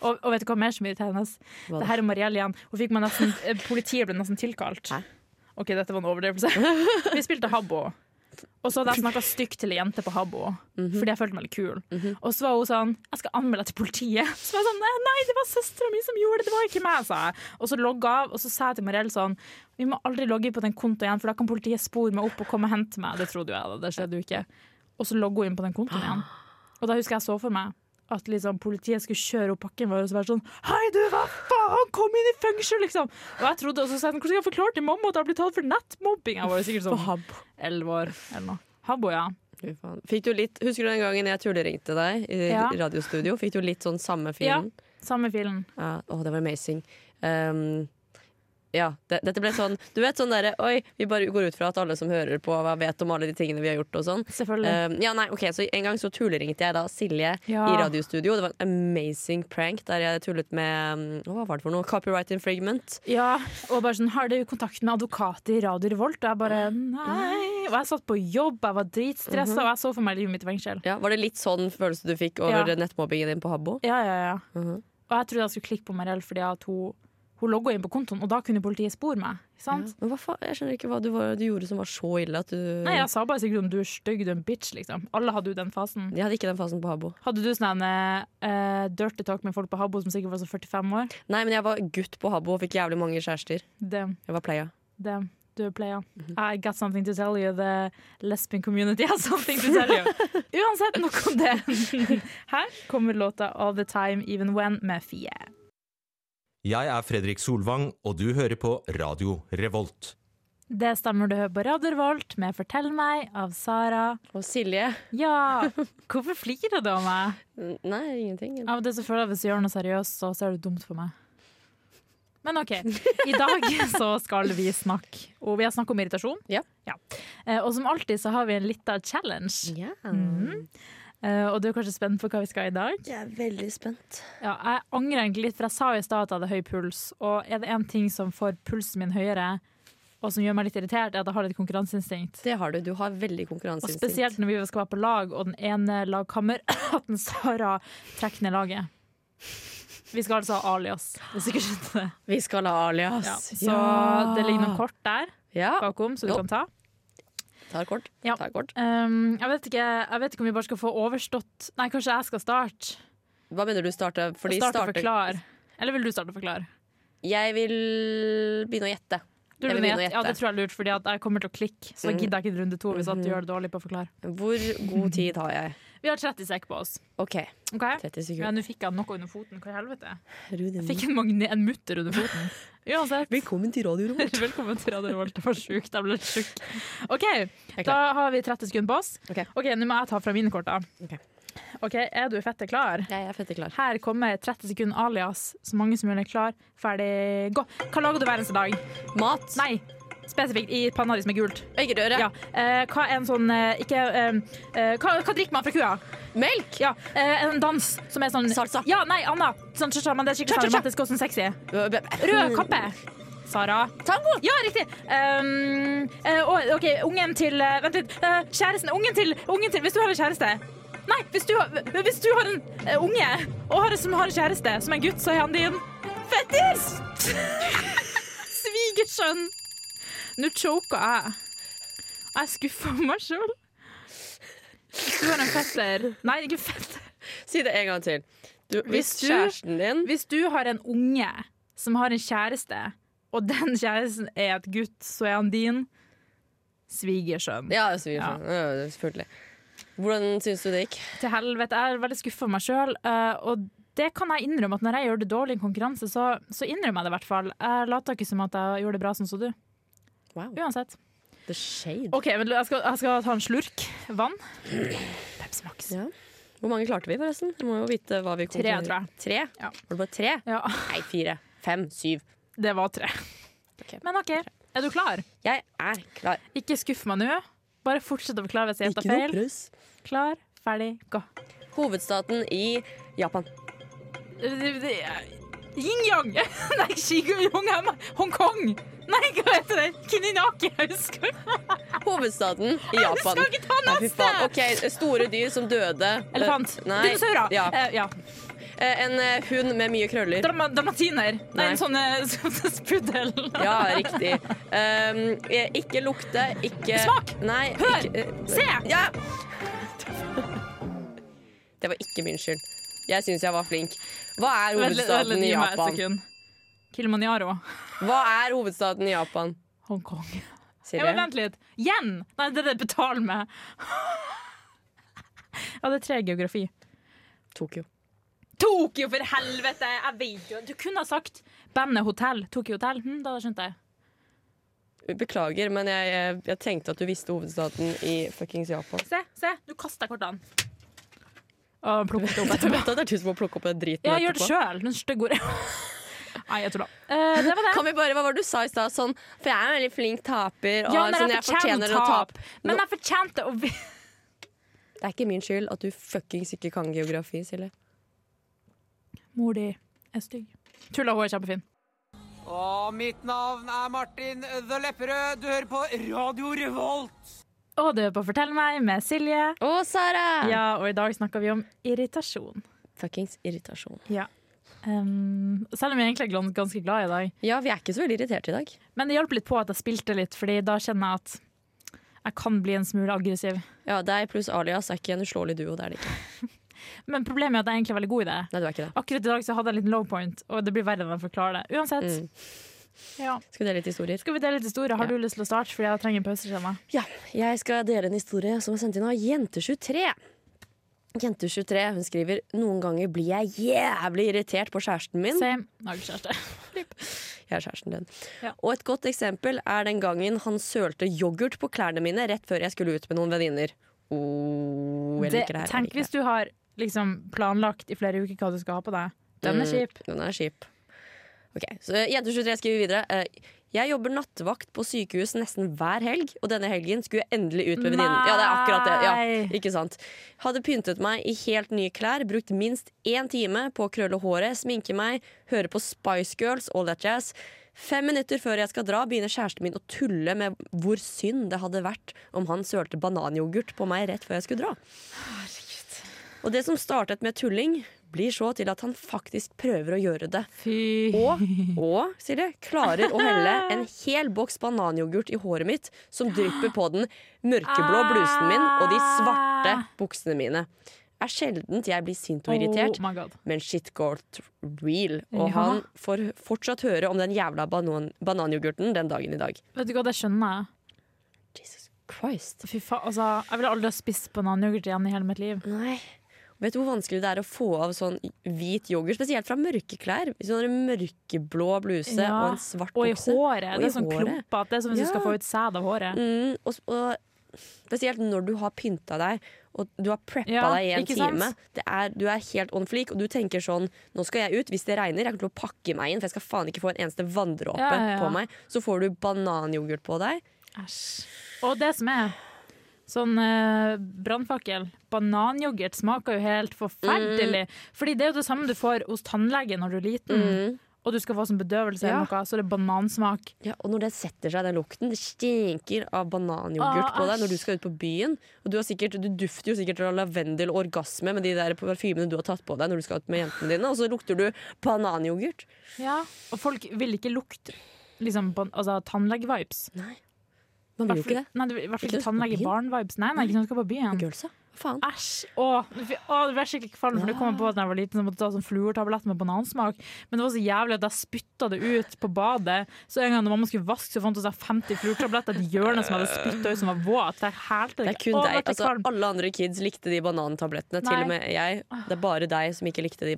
B: og, og vet du hva mer som irriterer henne?
D: Hva
B: Det her er Mariell igjen. Hun fikk meg nesten, eh, politiet ble nesten tilkalt.
D: Hæ?
B: OK, dette var en overdrivelse. Vi spilte Habbo. Og så hadde jeg snakka stygt til ei jente på Habbo
D: Mhm.
B: fordi jeg følte meg litt kul. Og så var hun sånn Jeg skal anmelde deg til politiet. Så var jeg sånn Nei, det var søstera mi som gjorde det, det var ikke meg, sa jeg. Og så logga jeg av, og så sa jeg til Mariell sånn Vi må aldri logge på den kontoen igjen, for da kan politiet spore meg opp og komme og hente meg. Det trodde jo jeg, da. Det skjedde jo ikke. Og så logger hun inn på den
D: Ah.
B: kontoen igjen. Og da husker jeg så for meg at liksom, politiet skulle kjøre opp pakken vår og så være sånn Hei, du, hva faen? Kom inn i fengsel, liksom! Og jeg trodde, og så sa jeg hvordan skal jeg forklare til mamma at jeg har blitt tatt for nettmobbing? Jeg var jo sikkert sånn elleve år eller noe. Habbo, ja.
D: Fy faen. Fikk du litt, husker du den gangen jeg tulleringte deg i
B: Ja.
D: radiostudio? Fikk du litt sånn samme
B: Ja.
D: filen?
B: Samme filen.
D: Ja. Å, det var amazing. Um, ja, det, dette ble sånn Du vet sånn derre Oi, vi bare går ut fra at alle som hører på, hva vet om alle de tingene vi har gjort og sånn.
B: Selvfølgelig.
D: Um, ja, nei, ok, så En gang så tulleringte jeg da Silje
B: Ja.
D: i radiostudio. Det var en amazing prank der jeg tullet med um, Hva var det for noe? Copyright infringement.
B: Ja, og bare sånn, har du kontakt med advokat i Radio Revolt? Og jeg bare, nei. Og jeg satt på jobb, jeg var dritstresset, og jeg så for meg livet mitt i fengsel.
D: Ja, Var det litt sånn følelse du fikk over
B: Ja.
D: nettmobbingen din på Habbo?
B: Ja, ja, ja.
D: Mhm.
B: Og jeg trodde jeg skulle klikke på Mariell fordi at hun, hun logget inn på kontoen, og da kunne politiet spore meg. Ikke sant?
D: Men hva faen, Jeg skjønner ikke hva du, var, du gjorde som var så ille at du
B: Nei, jeg sa bare sikkert om du er stygg, du er en bitch, liksom. Alle hadde jo den fasen.
D: Jeg hadde ikke den fasen på Habbo.
B: Hadde du sånn en eh, dirty talk med folk på Habbo som sikkert var sånn 45 år?
D: Nei, men jeg var gutt på Habbo og fikk jævlig mange kjærester.
B: Damn,
D: Jeg var playa.
B: damn. Du er playa. I got something to tell you. The lesbian community has something to tell you. Uansett, nok om det. Her kommer låta All The Time Even When med Fie.
H: Jeg er Fredrik Solvang, og du hører på Radio Revolt.
B: Det stemmer du hører på Radio Revolt med Fortell meg av Sara.
D: Og Silje
B: Ja, hvorfor flirer du av meg?
D: N- Nei, ingenting.
B: Av og til så føler jeg at hvis jeg gjør noe seriøst, så så er det dumt for meg. Men OK. I dag så skal vi snakke Og vi har snakket om irritasjon.
D: Ja.
B: Eh, Og som alltid så har vi en liten challenge.
D: Ja.
B: Eh, Og du er kanskje spent på hva vi skal i dag?
D: Jeg er veldig spent.
B: Ja, jeg angrer egentlig litt, for jeg sa jo i stad at jeg hadde høy puls. Og er det én ting som får pulsen min høyere, og som gjør meg litt irritert, er at jeg har litt konkurranseinstinkt.
D: Det har du. Du har veldig
B: Og
D: konkurranseinstinkt.
B: spesielt når vi skal være på lag, og den ene lagkameraten Sara trekker ned laget. Vi skal altså ha alias, hvis du ikke skjønte det.
D: Vi skal ha alias.
B: Ja, så det ligger noen kort der
D: Ja.
B: bakom, så du
D: Jo.
B: kan ta.
D: Tar kort.
B: Ja.
D: Tar kort.
B: Um, jeg, vet ikke, jeg vet ikke om vi bare skal få overstått Nei, kanskje jeg skal starte?
D: Hva mener du starte? Fordi
B: starte og
D: starter-
B: forklare. Eller vil du starte og forklare?
D: Jeg vil begynne å gjette.
B: Du
D: Jeg
B: vil
D: vil begynne å
B: gjette. Mm. Ja, det
D: gjette.
B: tror jeg er lurt, fordi at jeg kommer til å klikke. Så da gidder jeg ikke en runde to hvis at du gjør det dårlig på å forklare.
D: Hvor god tid har jeg?
B: Vi har 30 sek på oss.
D: OK,
B: Ok?
D: 30
B: Ja,
D: sekunder.
B: nå fikk jeg noe under foten. Hva i helvete?
D: Rune,
B: Jeg fikk en, magne, en mutter under foten. Uansett.
D: Velkommen til Radio Revolt.
B: Velkommen til Radio Revolt. Det var sjukt. Jeg ble litt sjuk. OK,
D: er
B: da
D: klar.
B: har vi 30 sekunder på oss.
D: Ok.
B: nå må jeg ta fra mine kort, da.
D: Ok.
B: OK, er du fette klar?
D: Jeg er fette klar.
B: Her kommer 30 sekunder alias. Så mange som mulig er klar, ferdig, gå. Hva lager du hver eneste dag?
D: Mat.
B: Nei, spesifikt i panna di som er gult.
D: Øygerøre.
B: Ja. Eh, hva er en sånn eh, Ikke eh, eh, hva, hva drikker man fra kua?
D: Melk.
B: Ja, eh, En dans som er sånn
D: Salsa.
B: Ja, nei, Anna. Sånn, cha-cha, men det er skikkelig
D: Cha-cha-cha.
B: dramatisk og sånn sexy. Rød kappe. Sara.
D: Tango.
B: Ja, riktig. Um, eh, å, OK, ungen til eh, Vent litt. Eh, kjæresten. Ungen til, ungen til Hvis du har en kjæreste Nei, hvis du, har- hvis du har en eh, unge og har, som har en kjæreste som er en gutt, så er han din Fettis! Svigersønn. Nå choker jeg. Jeg er skuffa over meg sjøl. Du har en fetter Nei, ikke fetter.
D: Si det en gang til. Du, hvis
B: Hvis du-
D: kjæresten din
B: Hvis du har en unge som har en kjæreste, og den kjæresten er et gutt, så er han din svigersønn.
D: Ja, så vi- ja, selvfølgelig. Hvordan syns du det gikk?
B: Til helvete, jeg er veldig skuffa over meg sjøl. Og det kan jeg innrømme, at når jeg gjør det dårlig i en konkurranse, så, så innrømmer jeg det i hvert fall. Jeg later ikke som at jeg gjorde det bra sånn som du.
D: Wow.
B: Uansett.
D: The shade.
B: OK, men jeg skal, jeg skal ta en slurk vann. Pepsi Max.
D: Ja. Hvor mange klarte vi, forresten? Vi må jo vite hva vi kom
B: Tre,
D: til.
B: tror jeg.
D: Tre?
B: Ja.
D: Var det bare tre?
B: Ja,
D: Nei, fire. Fem. Syv.
B: det var tre.
D: Ok.
B: Men OK, er du klar?
D: Jeg er klar.
B: Ikke skuff meg nå. Bare fortsett å forklare hvis jeg gjetter feil.
D: press.
B: Klar, ferdig, gå.
D: Hovedstaten i Japan.
B: Yin-yang! Nei, Shiguyong er meg. Hongkong! Nei, hva heter det? Kininaki, jeg husker.
D: Hovedstaden i Japan.
B: skal ikke ta
D: Nei, fy
B: neste!
D: faen. Ok, Store dyr som døde.
B: Elefant.
D: Eh, Nei.
B: Dinosaurer.
D: Ja.
B: Eh, ja.
D: Eh, En eh, hund med mye krøller.
B: Drama dalmatiner. Nei,
D: Nei.
B: en sånn eh, sånn puddel.
D: Ja, riktig. Um, eh, ikke lukte, ikke
B: Smak!
D: Nei,
B: Hør!
D: ikke- eh,
B: Se!
D: Ja! Det var ikke min skyld. Jeg syns jeg var flink. Hva er
B: Vent litt, vent
D: hovedstaden
B: litt,
D: i
B: gi meg et
D: Japan?
B: sekund. Kilimanjaro.
D: Hva er hovedstaden i Japan?
B: Hongkong. Ja, men
D: Silje?
B: vent litt. Yen! Nei, det er det betal med. Ja, det er tre geografi.
D: Tokyo.
B: Tokyo, for helvete! Jeg vet jo Du kunne ha sagt bandet Hotell. Tokyo Hotel. Hm, da hadde jeg skjønt det.
D: Beklager, men jeg, jeg, jeg tenkte at du visste hovedstaden i fuckings Japan.
B: Se, se, nå kaster jeg kortene. Og plukket det opp
D: Jeg
B: etterpå.
D: vet at det er du som må plukke opp den driten
B: Ja, gjør det
D: etterpå.
B: sjøl, den stygge ordet. Nei, jeg tulla. Eh, det var det.
D: Kan vi bare, Hva var det du sa i stad? Sånn, for jeg er en veldig flink taper. Og
B: Ja, men
D: sånn,
B: jeg
D: jeg fortjener å
B: tape.
D: tape.
B: Men jeg fortjente å vinne.
D: Det er ikke min skyld at du fuckings ikke kan geografi, Silje.
B: Mor di er stygg. Tulla, hun er kjempefin.
I: Og mitt navn er Martin The Lepperød. Du hører på Radio Revolt.
B: Og du er på Fortell meg med Silje.
D: Å, Sara!
B: Ja, og i dag snakker vi om irritasjon.
D: Fuckings irritasjon.
B: Um, selv om jeg egentlig er glans- ganske glad i dag.
D: Ja, vi er ikke så veldig irritert i dag.
B: Men det hjalp litt på at jeg spilte litt, Fordi da kjenner jeg at jeg kan bli en smule aggressiv.
D: Ja, Deg pluss alias er ikke en uslåelig duo. det er det ikke.
B: Men problemet er at jeg egentlig er veldig god i det.
D: Nei, du er ikke det.
B: Akkurat i dag så hadde jeg en liten low point, og det blir verre når jeg forklarer det. Uansett.
D: Mm.
B: Ja.
D: Skal vi dele litt historier?
B: Skal vi dele litt historie? Har
D: Ja.
B: du lyst til å starte? Fordi jeg trenger en pause. kjenner jeg.
D: Ja, Jeg skal dele en historie som er sendt inn av Jente23. Jente23 hun skriver noen ganger blir jeg jævlig irritert på kjæresten min.
B: Same. Har ikke kjæreste.
D: Oh, Jeg er kjæresten din.
B: Ja.
D: Og et godt eksempel er den gangen han sølte yoghurt på klærne mine rett før jeg skulle ut med noen venninner. Oh, jeg
B: Det-
D: liker det her. jeg
B: Tenk
D: liker det.
B: hvis du har liksom planlagt i flere uker hva du skal ha på deg.
D: Mm.
B: Den er kjip.
D: Den er kjip. Ok, så eh, Jente23 skriver videre. eh, Jeg jobber nattevakt på sykehus nesten hver helg, og denne helgen skulle jeg endelig ut med venninnen. Ja, det er akkurat det. Ja,
B: Nei.
D: ikke sant. Hadde pyntet meg i helt nye klær, brukt minst én time på å krølle håret, sminke meg, høre på Spice Girls, all that jazz. Fem minutter før jeg skal dra, begynner kjæresten min å tulle med hvor synd det hadde vært om han sølte bananyoghurt på meg rett før jeg skulle dra. Og det som startet med tulling, blir så til at han faktisk prøver å gjøre det.
B: Fy.
D: Og, og Silje, klarer å helle en hel boks bananyoghurt i håret mitt, som drypper på den mørkeblå blusen min og de svarte
B: Ah.
D: buksene mine. Er sjeldent jeg blir sint og irritert,
B: Oh my god.
D: men shit got real. Og
B: Ja.
D: han får fortsatt høre om den jævla banan bananyoghurten den dagen i dag.
B: Vet du hva, det skjønner jeg.
D: Jesus Christ.
B: Fy faen, altså, jeg ville aldri ha spist bananyoghurt igjen i hele mitt liv.
D: Nei. Vet du hvor vanskelig det er å få av sånn hvit yoghurt, spesielt fra mørke klær? Hvis du har en mørkeblå bluse
B: Ja,
D: og en svart
B: Og i
D: bukse.
B: håret.
D: Og
B: det
D: i
B: er sånn
D: håret.
B: klumpete. Det er som hvis du
D: Ja.
B: skal få ut sæd av håret.
D: Mm, og, s- og spesielt når du har pynta deg, og du har preppa
B: Ja,
D: deg i en
B: ikke sant?
D: time. Det er, du er helt on fleek, og du tenker sånn Nå skal jeg ut. Hvis det regner, jeg kommer til å pakke meg inn, for jeg skal faen ikke få en eneste vanndråpe
B: Ja, ja, ja.
D: på meg. Så får du bananyoghurt på deg.
B: Æsj. Og det som er sånn eh, brannfakkel Bananyoghurt smaker jo helt forferdelig.
D: Mm.
B: Fordi det er jo det samme du får hos tannlegen når du er liten. Og du skal få sånn bedøvelse,
D: Ja.
B: eller noe, så det er banansmak.
D: Ja, og når det setter seg, den lukten, det stinker av bananyoghurt
B: Ah,
D: på deg
B: æsj.
D: når du skal ut på byen. Og du, har sikkert, du dufter jo sikkert av lavendel og orgasme med de der parfymene du har tatt på deg når du skal ut med jentene dine, og så lukter du bananyoghurt.
B: Og folk vil ikke lukte liksom, ban- altså, tannlege-vibes.
D: Man vil jo ikke det.
B: Hvertfall- Nei, du vil- i hvert fall ikke
D: Ikke når du skal på byen.
B: tannlege-barn-vibes. Nei, nei, ikke når du skal på byen.
D: Girlsa, hva faen?
B: Æsj! Åh, åh, det ble skikkelig kvalm, for det kom jeg på da jeg var liten, så måtte jeg ta sånn fluortablett med banansmak. Men det var så jævlig at jeg spytta det ut på badet. Så en gang når mamma skulle vaske, så fant hun seg 50 fluortabletter i et hjørne som jeg hadde spytta ut, som var våt. Der hælte
D: Det
B: det
D: er kun
B: Åh,
D: deg.
B: jeg ble
D: Altså,
B: kvalm.
D: alle andre kids likte de
B: Nei.
D: banantablettene.
B: Ah.
D: Til og med jeg. Det er bare deg som ikke likte de
B: Nei, de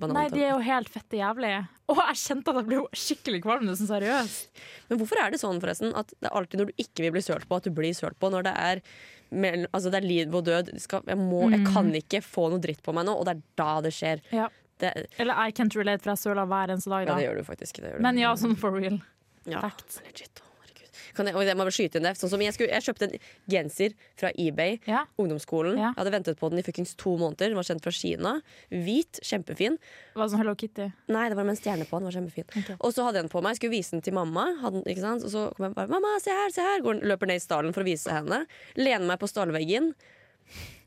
B: er
D: banantablettene.
B: jo helt fette jævlige. Å, jeg kjente at jeg ble jo skikkelig kvalm. Det er sånn seriøst.
D: Men hvorfor er det sånn forresten at det er alltid når du ikke vil bli sølt på, at du blir sølt på? Når det er, mell- altså, det er liv og død. Det Skal, jeg, må, jeg kan ikke få noe dritt på meg nå, og det er da det skjer.
B: Mm. Ja.
D: Det,
B: Eller I can't relate, for jeg søler hver eneste dag.
D: ja, det
B: Da.
D: gjør du faktisk. Det gjør du.
B: Men ja, sånn for real.
D: Ja,
B: Fact.
D: legit, å, herregud. Kan jeg, og jeg må bare skyte inn det. Sånn som jeg, skulle, jeg kjøpte en genser fra eBay.
B: Ja.
D: Ungdomsskolen.
B: Ja.
D: Jeg hadde ventet på den i fuckings to måneder. Den var sendt fra Kina. Hvit, kjempefin.
B: Det var sånn Hello Kitty.
D: Nei, det var med en stjerne på den. var kjempefin Og så hadde jeg den på meg, skulle vise den til mamma. Hadde, den- ikke sant? Og så kom jeg bare 'mamma, se her', se her Går, den- løper ned i stallen for å vise henne. Lener meg på stallveggen.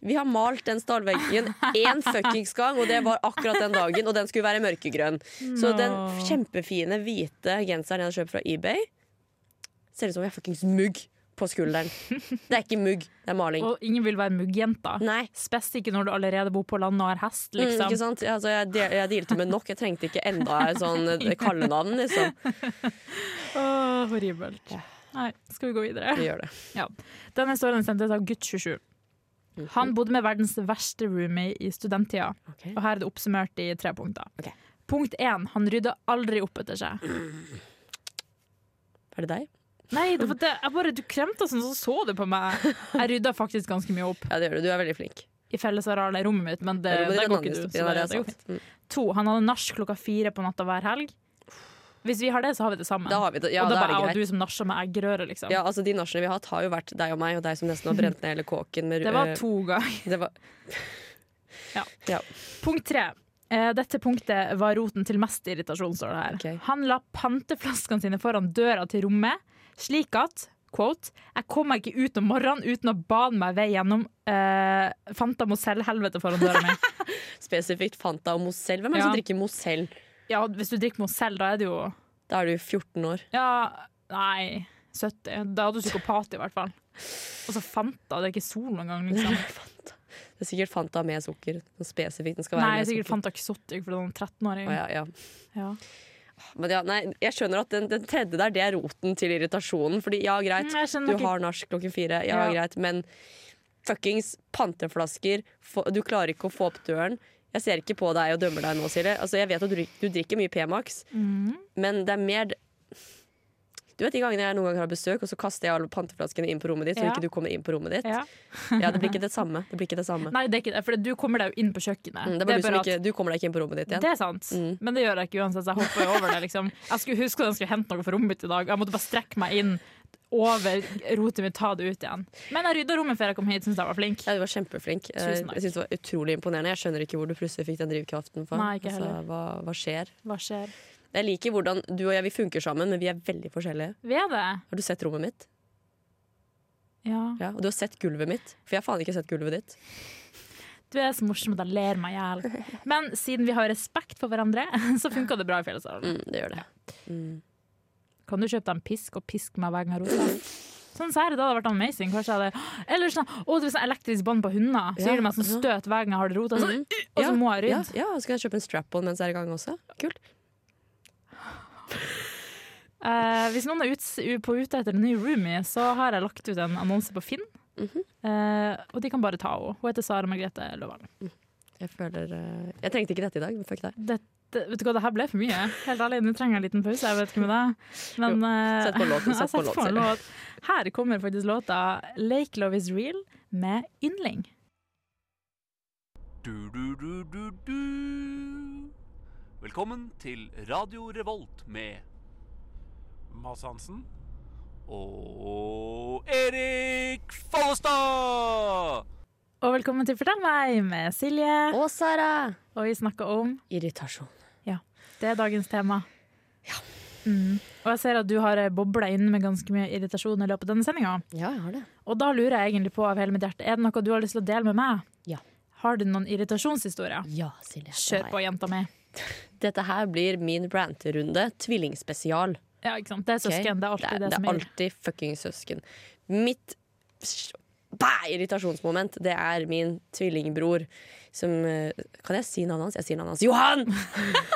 D: Vi har malt den stallveggen én fuckings gang, og det var akkurat den dagen. Og den skulle være mørkegrønn. Så den
B: Nå.
D: kjempefine hvite genseren jeg hadde kjøpt fra eBay, ser ut som jeg har fuckings mugg på skulderen. Det er ikke mugg, det er maling.
B: Og ingen vil være muggjenta.
D: Nei.
B: Spesielt ikke når du allerede bor på landet og har hest,
D: Mm,
B: liksom.
D: ikke sant? Altså, jeg, del, jeg dealte med nok. Jeg trengte ikke enda et sånn eh, kallenavn, liksom.
B: Åh, horribelt. Nei, skal vi gå videre?
D: Vi gjør det.
B: Denne historien er sendt ut av gutt 27. Han bodde med verdens verste roomie i studenttida.
D: Ok.
B: Og her er det oppsummert i tre punkter.
D: Ok.
B: Punkt én, han rydda aldri opp etter seg.
D: Er det deg?
B: Nei, det var det, jeg bare, du kremta sånn, så så du på meg. Jeg rydda faktisk ganske mye opp
D: Ja, det gjør du. Du er veldig flink.
B: i fellesarealet i rommet mitt, men det,
D: Det er
B: der
D: den
B: går ikke
D: andre
B: du. så
D: historien,
B: det-
D: det er
B: det går fint.
D: sant. Mm.
B: To, han hadde nach klokka fire på natta hver helg. Hvis vi har det, så har vi det sammen.
D: Da har vi det. Ja,
B: og da
D: da er
B: bare jeg og
D: det greit.
B: du som nachser med eggerøre, liksom.
D: Ja, altså De nachene vi har hatt, har jo vært deg og meg, og deg som nesten har brent ned hele kåken. Med,
B: Det var
D: eh,
B: to ganger.
D: det var-
B: Punkt tre. Eh, Dette punktet var roten til mest irritasjon, står det her.
D: Ok.
B: Han la panteflaskene sine foran døra til rommet, slik at quote, jeg kom meg ikke ut om morgenen uten å bane meg vei gjennom eh, Fanta Mozell-helvete foran døra mi.
D: spesifikt Fanta og Mozell. Hvem er det som
B: Ja.
D: drikker Mozell?
B: Ja, hvis du drikker Mozell, da er det jo
D: Da er du 14 år.
B: Ja, nei 70. Da er du psykopat, i hvert fall. Og så Fanta, det er ikke sol noen gang, liksom.
D: Det er sikkert Fanta med sukker. Sånn spesifikt den skal være
B: Nei,
D: med
B: sikkert
D: sukker.
B: Fanta Exotic, for den er 13-åring.
D: Å, ja, ja.
B: Ja.
D: Men ja, nei, jeg skjønner at den, den tredje der, det er roten til irritasjonen. Fordi ja, greit,
B: Mm, jeg skjønner
D: du
B: ikke-
D: har nach klokken fire, ja,
B: Ja.
D: greit, men fuckings panteflasker, få- du klarer ikke å få opp døren. Jeg ser ikke på deg og dømmer deg nå, Silje. Altså, jeg vet at du, drik- du drikker mye P-Max,
B: Mm.
D: men det er mer Du vet de gangene jeg noen ganger har besøk, og så kaster jeg alle panteflaskene inn på rommet ditt, så
B: Ja.
D: ikke du kommer inn på rommet ditt. Ja.
B: Ja.
D: det blir ikke det samme. Det blir ikke det samme.
B: Nei, det er ikke det, for du kommer deg jo inn på kjøkkenet.
D: Mm, det er bare du, som
B: at-
D: ikke, du kommer deg ikke inn på rommet ditt igjen.
B: Det er sant,
D: Mm.
B: men det gjør jeg ikke uansett. så Jeg hopper jo over det liksom. Jeg skulle huske at jeg skulle hente noe fra rommet mitt i dag. Jeg måtte bare strekke meg inn over rotet mitt, ta det ut igjen. Men jeg rydda rommet før jeg kom hit, syns jeg var flink.
D: Ja, du var kjempeflink. Eh,
B: Tusen takk.
D: Jeg synes det var utrolig imponerende. Jeg skjønner ikke hvor du plutselig fikk den drivkraften fra.
B: Nei, ikke
D: altså,
B: heller.
D: hva, hva skjer?
B: Hva skjer?
D: Jeg liker hvordan du og jeg vi funker sammen, men vi er veldig forskjellige.
B: Vi er det.
D: Har du sett rommet mitt?
B: Ja.
D: Ja, Og du har sett gulvet mitt? For jeg har faen ikke sett gulvet ditt.
B: Du er så morsom at jeg ler meg i hjel. Men siden vi har respekt for hverandre, så funka det bra i Fjellsalen.
D: Mm, det gjør det.
B: Kan du kjøpe deg en pisk og piske meg hver gang jeg roter? Sånn sær, det hadde vært amazing. Kanskje jeg hadde Eller sånn Å, det er sånn elektrisk bånd på hunder. Så
D: Ja,
B: gir det meg sånn
D: ja.
B: støt hver gang jeg har det rota. Sånn, og så må jeg
D: Ja,
B: rydde.
D: ja, skal jeg kjøpe en strap-on mens jeg er i gang også? Kult.
B: Eh, hvis noen er ut, på ute etter en ny roomie, så har jeg lagt ut en annonse på Finn.
D: Mhm.
B: Eh, og de kan bare ta henne. Hun heter Sara Margrethe Løvang.
D: Jeg føler eh, Jeg trengte ikke dette i dag, men fuck deg.
B: Dette- Vet du hva, det her ble for mye. Helt ærlig, nå trenger jeg en liten pause. Jeg vet ikke med deg. Men eh,
D: Sett på låten,
B: jeg
D: sett på
B: setter
D: låt, sier du.
B: låt. Her kommer faktisk låta 'Lake Love Is Real' med Yndling.
G: Du, du, du, du, du. Velkommen til Radio Revolt med Mads Hansen og Erik Follestad!
B: Og velkommen til Fortell meg med Silje.
D: Å, Sara!
B: Og vi snakker om
D: Irritasjon.
B: Det er dagens tema. Mm. Og jeg ser at du har bobla inn med ganske mye irritasjon i løpet av denne sendinga.
D: Ja, jeg har det.
B: Og da lurer jeg egentlig på av hele mitt hjerte, er det noe du har lyst til å dele med meg?
D: Ja.
B: Har du noen irritasjonshistorier?
D: Ja, Silje. det har
B: Kjør
D: jeg.
B: på, jenta mi.
D: Dette her blir min ranterunde. Tvillingspesial.
B: Ja, ikke sant? Det er
D: ok?
B: søsken. Det er alltid det,
D: det
B: som
D: er
B: er
D: alltid fucking søsken. Mitt s- bæ, irritasjonsmoment, det er min tvillingbror som eh, Kan jeg si navnet hans? Jeg sier navnet hans. Johan!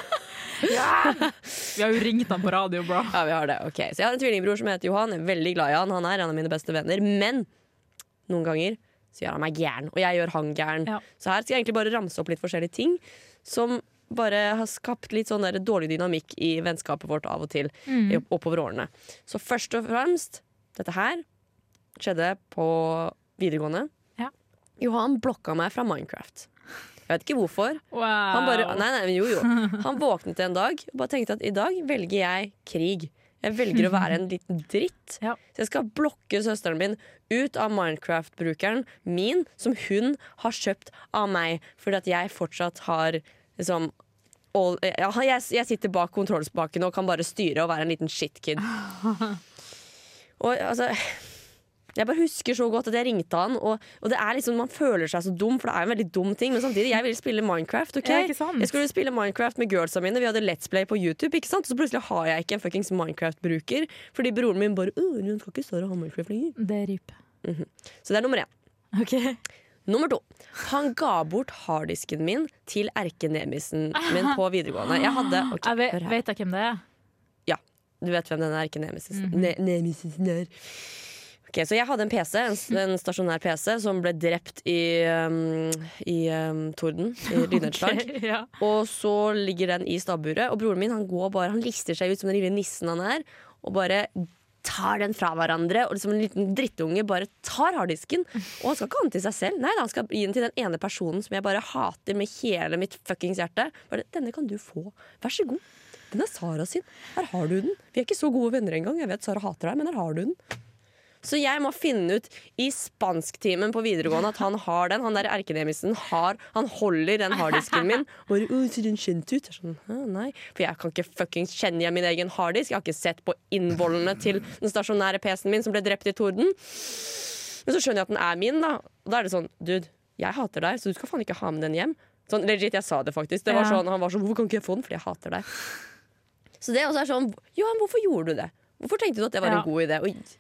B: Vi har jo ringt han på radio, bro.
D: Ja, vi har det. ok Så jeg har en tvillingbror som heter Johan. Jeg er veldig glad i han. Han er en av mine beste venner. Men noen ganger så gjør han meg gæren, og jeg gjør han gæren.
B: Ja.
D: Så her skal jeg egentlig bare ramse opp litt forskjellige ting som bare har skapt litt sånn der dårlig dynamikk i vennskapet vårt av og til
B: Mm.
D: i opp- oppover årene. Så først og fremst, dette her skjedde på videregående.
B: Ja.
D: Johan blokka meg fra Minecraft. Jeg vet ikke hvorfor.
B: Wow.
D: Han bare, nei, nei, men jo, jo. Han våknet en dag og bare tenkte at i dag velger jeg krig. Jeg velger å være en liten dritt.
B: Ja.
D: Så jeg skal blokke søsteren min ut av Minecraft-brukeren min, som hun har kjøpt av meg, fordi at jeg fortsatt har liksom all, ja, jeg, jeg sitter bak kontrollspaken og kan bare styre og være en liten shitkid. Og altså jeg bare husker så godt at jeg ringte han, og, og det er liksom, man føler seg så dum, for det er en veldig dum ting, men samtidig, jeg ville spille Minecraft, ok?
B: Ja, ikke sant?
D: Jeg skulle spille Minecraft med girlsa mine, vi hadde Let's Play på YouTube, ikke sant? Og så plutselig har jeg ikke en fuckings Minecraft-bruker, fordi broren min bare, «Åh, hun skal ikke større ha Minecraft lenger.
B: Det er rype.
D: Så det er nummer én.
B: OK.
D: Nummer to. Han ga bort harddisken min til erkenebisen min på videregående. Jeg hadde ok,
B: Jeg vet,
D: hør her.
B: vet jeg hvem det er?
D: Du vet hvem denne erkenemesisen ne nemesisen er. Ok, så jeg hadde en PC, en, s- en stasjonær PC, som ble drept i, um, i um, torden. I lynnedslag.
B: Ok, ja.
D: Og så ligger den i stabburet, og broren min han går bare, han lister seg ut som den lille nissen han er, og bare tar den fra hverandre, og liksom en liten drittunge bare tar harddisken. Og han skal ikke ha den til seg selv, nei da, han skal gi den til den ene personen som jeg bare hater med hele mitt fuckings hjerte. Bare, denne kan du få, vær så god. Den er Sara sin, her har du den. Vi er ikke så gode venner engang, jeg vet Sara hater deg, men her har du den. Så jeg må finne ut i spansktimen på videregående at han har den. Han der erkenemissen har Han holder den harddisken min. Bare, «Å, ser den kjent ut? Jeg er sånn, «Hæ, nei. For jeg kan ikke fuckings kjenne igjen min egen harddisk. Jeg har ikke sett på innvollene til den stasjonære PC-en min som ble drept i torden. Men så skjønner jeg at den er min, da. Og da er det sånn, dude, jeg hater deg, så du skal faen ikke ha med den hjem. Sånn, legit, jeg sa det faktisk. Det var
B: Ja.
D: sånn, han var sånn, hvorfor kan ikke jeg få den? Fordi jeg hater deg. Så det også er sånn, Johan, hvorfor gjorde du det? Hvorfor tenkte du at det var
B: Ja.
D: en god idé? Og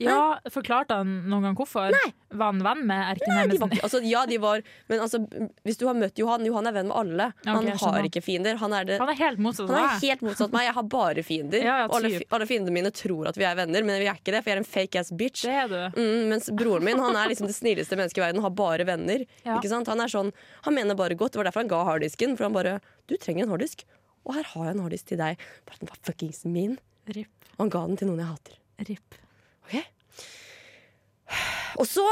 B: Ja, forklarte han noen gang hvorfor? Nei. Var han venn med
D: de var,
B: erkenemisen?
D: ikke- altså, ja, de var Men altså, hvis du har møtt Johan Johan er venn med alle. han
B: jeg skjønner.
D: har ikke fiender. Han er, det,
B: Han er helt motsatt
D: han er
B: av deg.
D: helt motsatt meg. Jeg har bare fiender.
B: Ja, ja,
D: og alle,
B: typ.
D: fi- alle fiendene mine tror at vi er venner, men vi er ikke det, for jeg er en fake ass bitch.
B: Det er du.
D: Mm, mens broren min han er liksom det snilleste mennesket i verden, har bare venner.
B: Ja.
D: Ikke sant? Han er sånn, han mener bare godt. Det var derfor han ga harddisken. For han bare Du trenger en harddisk. Og her har jeg en harddisk til deg. Bare den var fuckings min.
B: Rip.
D: Og han ga den til noen jeg hater.
B: Rip.
D: Og så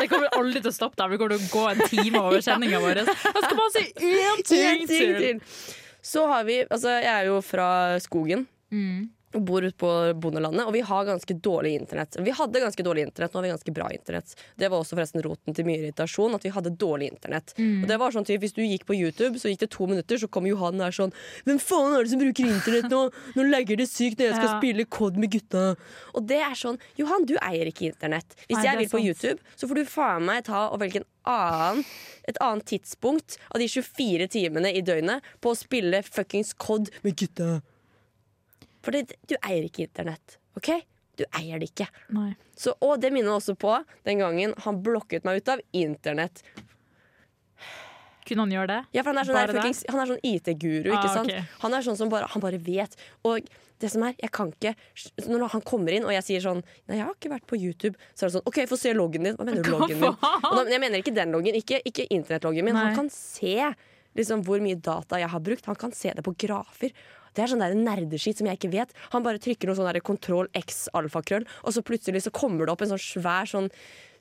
B: Det kommer aldri til å stoppe der. Vi kommer til å gå en time over sendinga vår. Jeg skal bare si én
D: En
B: ting til! Mm.
D: Så har vi Altså, jeg er jo fra skogen. og bor ute på bondelandet, og vi har ganske dårlig internett. Vi hadde ganske dårlig internett, nå har vi ganske bra internett. Det var også forresten roten til mye irritasjon, at vi hadde dårlig internett.
B: Mm.
D: Og det var sånn typ, Hvis du gikk på YouTube, så gikk det to minutter, så kom Johan der sånn Hvem faen er det som bruker internett nå? Nå legger det sykt når jeg skal
B: Ja.
D: spille COD med gutta. Og det er sånn Johan, du eier ikke internett. Hvis
B: Nei,
D: jeg
B: det
D: vil
B: er
D: på
B: sant.
D: YouTube, så får du faen meg ta og velge en annen, et annet tidspunkt av de 24 timene i døgnet på å spille fuckings COD med gutta. For det, du eier ikke internett, OK? Du eier det ikke.
B: Nei.
D: Så, og det minner også på den gangen han blokket meg ut av internett.
B: Kunne han gjøre det?
D: Ja, for Han er sånn,
B: Bare
D: der, fuckings, han er sånn IT-guru, ikke
B: Ah,
D: sant?
B: ok.
D: Han er sånn som bare, han bare vet. Og det som er, jeg kan ikke så Når han kommer inn og jeg sier sånn Nei, jeg har ikke vært på YouTube. Så er det sånn OK, få se loggen din. Hva mener du
B: Hva
D: loggen din?
B: faen?
D: Og da, jeg mener ikke den loggen, ikke, ikke internettloggen min.
B: Nei.
D: Han kan se liksom, hvor mye data jeg har brukt. Han kan se det på grafer. Det er sånn der nerdeskitt som jeg ikke vet. Han bare trykker noe sånn der kontroll x alfakrøll, og så plutselig så kommer det opp en sånn svær sånn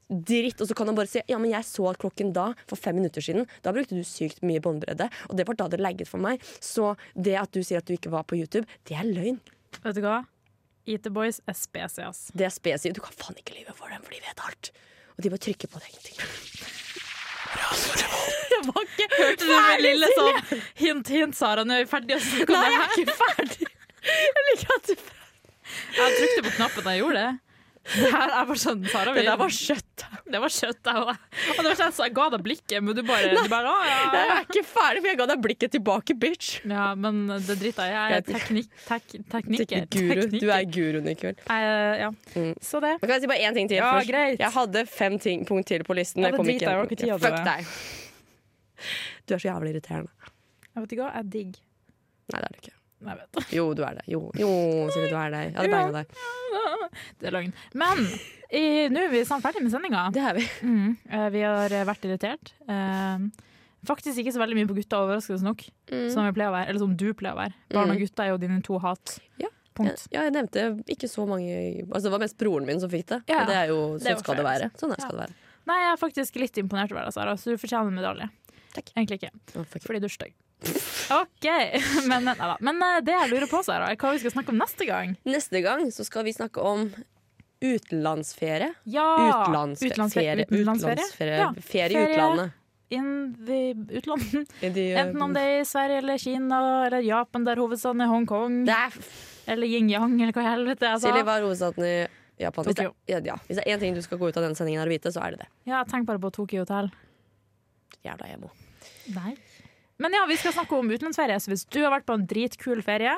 D: dritt, og så kan han bare si ja, men jeg så klokken da for fem minutter siden. Da brukte du sykt mye båndbredde, og det var da det lagget for meg. Så det at du sier at du ikke var på YouTube, det er løgn.
B: Vet du hva? IT Boys er spesies. ass.
D: Det er spesielt. Du kan faen ikke lyve for dem, for de vet alt. Og de bare trykker på det. egentlig.
B: Det var ikke Hørte du det lille sånn Hint, hint, Sara, nå er vi ferdige. og Så Nei, jeg er ikke ferdig. Jeg liker at du Jeg trykte på knappen da jeg gjorde det. Det her er bare sånn, Sara
D: Det der var
B: kjøtt. Det var kjøtt, det var. Og det var sånn, så jeg ga deg blikket, men du bare, du bare Å, Ah, ja.
D: Jeg er ikke ferdig, for jeg ga deg blikket tilbake, bitch.
B: ja, men det driter jeg i. Jeg er teknikk... Tek, teknikker.
D: Guru. Du
B: Teknikker.
D: er guruen i kveld.
B: Jeg- ja. Så det.
D: Men kan jeg si bare én ting til
B: Ja,
D: først?
B: greit.
D: Jeg hadde fem ting, punkt til på listen.
B: Ja,
D: Jeg
B: det
D: kom ikke
B: driter jeg,
D: gjennom.
B: det var ikke tid
D: Fuck
B: til
D: deg. Du er så jævlig irriterende.
B: Jeg vet ikke hva. Jeg digg.
D: Nei, det er du ikke.
B: Nei, jeg vet.
D: Jo, du er det. Jo, jo Silje, du er det. Jeg hadde
B: Ja.
D: beina deg.
B: Det er løgn. Men i- nå er vi snart ferdig med sendinga.
D: Det er vi.
B: Mm, eh, vi har eh, vært irritert. Eh, faktisk ikke så veldig mye på gutta, overraskende nok.
D: Mm.
B: Som, vi pleier å være, eller som du pleier å være. Barn og gutta er jo dine to hat.
D: Ja.
B: Punkt.
D: Ja, jeg nevnte ikke så mange Altså, det var mest broren min som fikk det.
B: Ja.
D: Og det er jo
B: Det var
D: Sånn skal det
B: fair,
D: være. Sånn er-
B: Ja.
D: skal det være.
B: Nei, jeg er faktisk litt imponert over deg, Sara, så du fortjener en medalje.
D: Takk.
B: Egentlig ikke,
D: Å, fuck.
B: fordi du er stygg. OK. Men, nei, da. Men eh, det jeg lurer på, Sara, er hva vi skal snakke om neste gang.
D: Neste gang så skal vi snakke om utenlandsferie.
B: Ja!
D: Utenlandsferie.
B: Ah, Utenlandsferie.
D: Utenlandsferie.
B: Ja.
D: Ferie i
B: Ferie.
D: utlandet. um,
B: In the utlandet.
D: I de,
B: Enten om det er i Sverige eller Kina eller Japan, der hovedstaden er Hongkong,
D: Det er
B: eller yin-yang, eller hva i helvete jeg sa.
D: Silje, hva er hovedstaden i Japan? Hvis det,
B: Altså- Tokyo.
D: ja, ja. Hvis det er én ting du skal gå ut av denne sendingen her og vite, så er det det.
B: Ja, tenk bare på Tokyo Hotel.
D: Jævla emo.
B: Nei. Men ja, vi skal snakke om utenlandsferie. Så hvis du har vært på en dritkul ferie,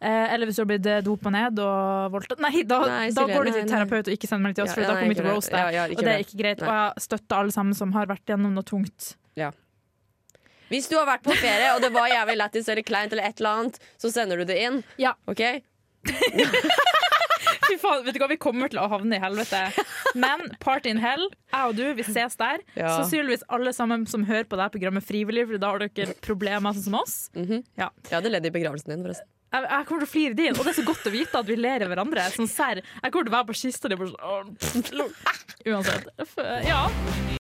B: eh, eller hvis du har blitt eh, dopa ned og voldtatt Nei, da,
D: Nei,
B: da
D: Silje,
B: går du
D: nei,
B: til
D: nei.
B: terapeut og ikke sender meg til oss,
D: Ja,
B: for
D: ja,
B: da
D: nei,
B: kommer vi til
D: ikke
B: å
D: det.
B: roaste deg.
D: Ja, ja, ikke
B: og det er
D: det.
B: ikke greit.
D: Nei.
B: Og jeg støtter alle sammen som har vært gjennom noe tungt.
D: Hvis du har vært på ferie og det var jævlig lættis eller kleint, eller et eller annet, så sender du det inn.
B: Ja.
D: Ok?
B: Fy faen, vet du hva, vi kommer til å havne i helvete. Men party in hell, jeg og du, vi ses der.
D: Ja.
B: Sannsynligvis alle sammen som hører på det her programmet frivillig, for da har dere problemer sånn som oss.
D: Mhm.
B: ja.
D: Jeg hadde ledd i begravelsen din, forresten.
B: jeg, jeg kommer til å flire din, og det er så godt å vite at vi ler av hverandre. Sånn serr. Jeg kommer til å være på kista di bare sånn åh, pff, lol. Uansett. F- Ja.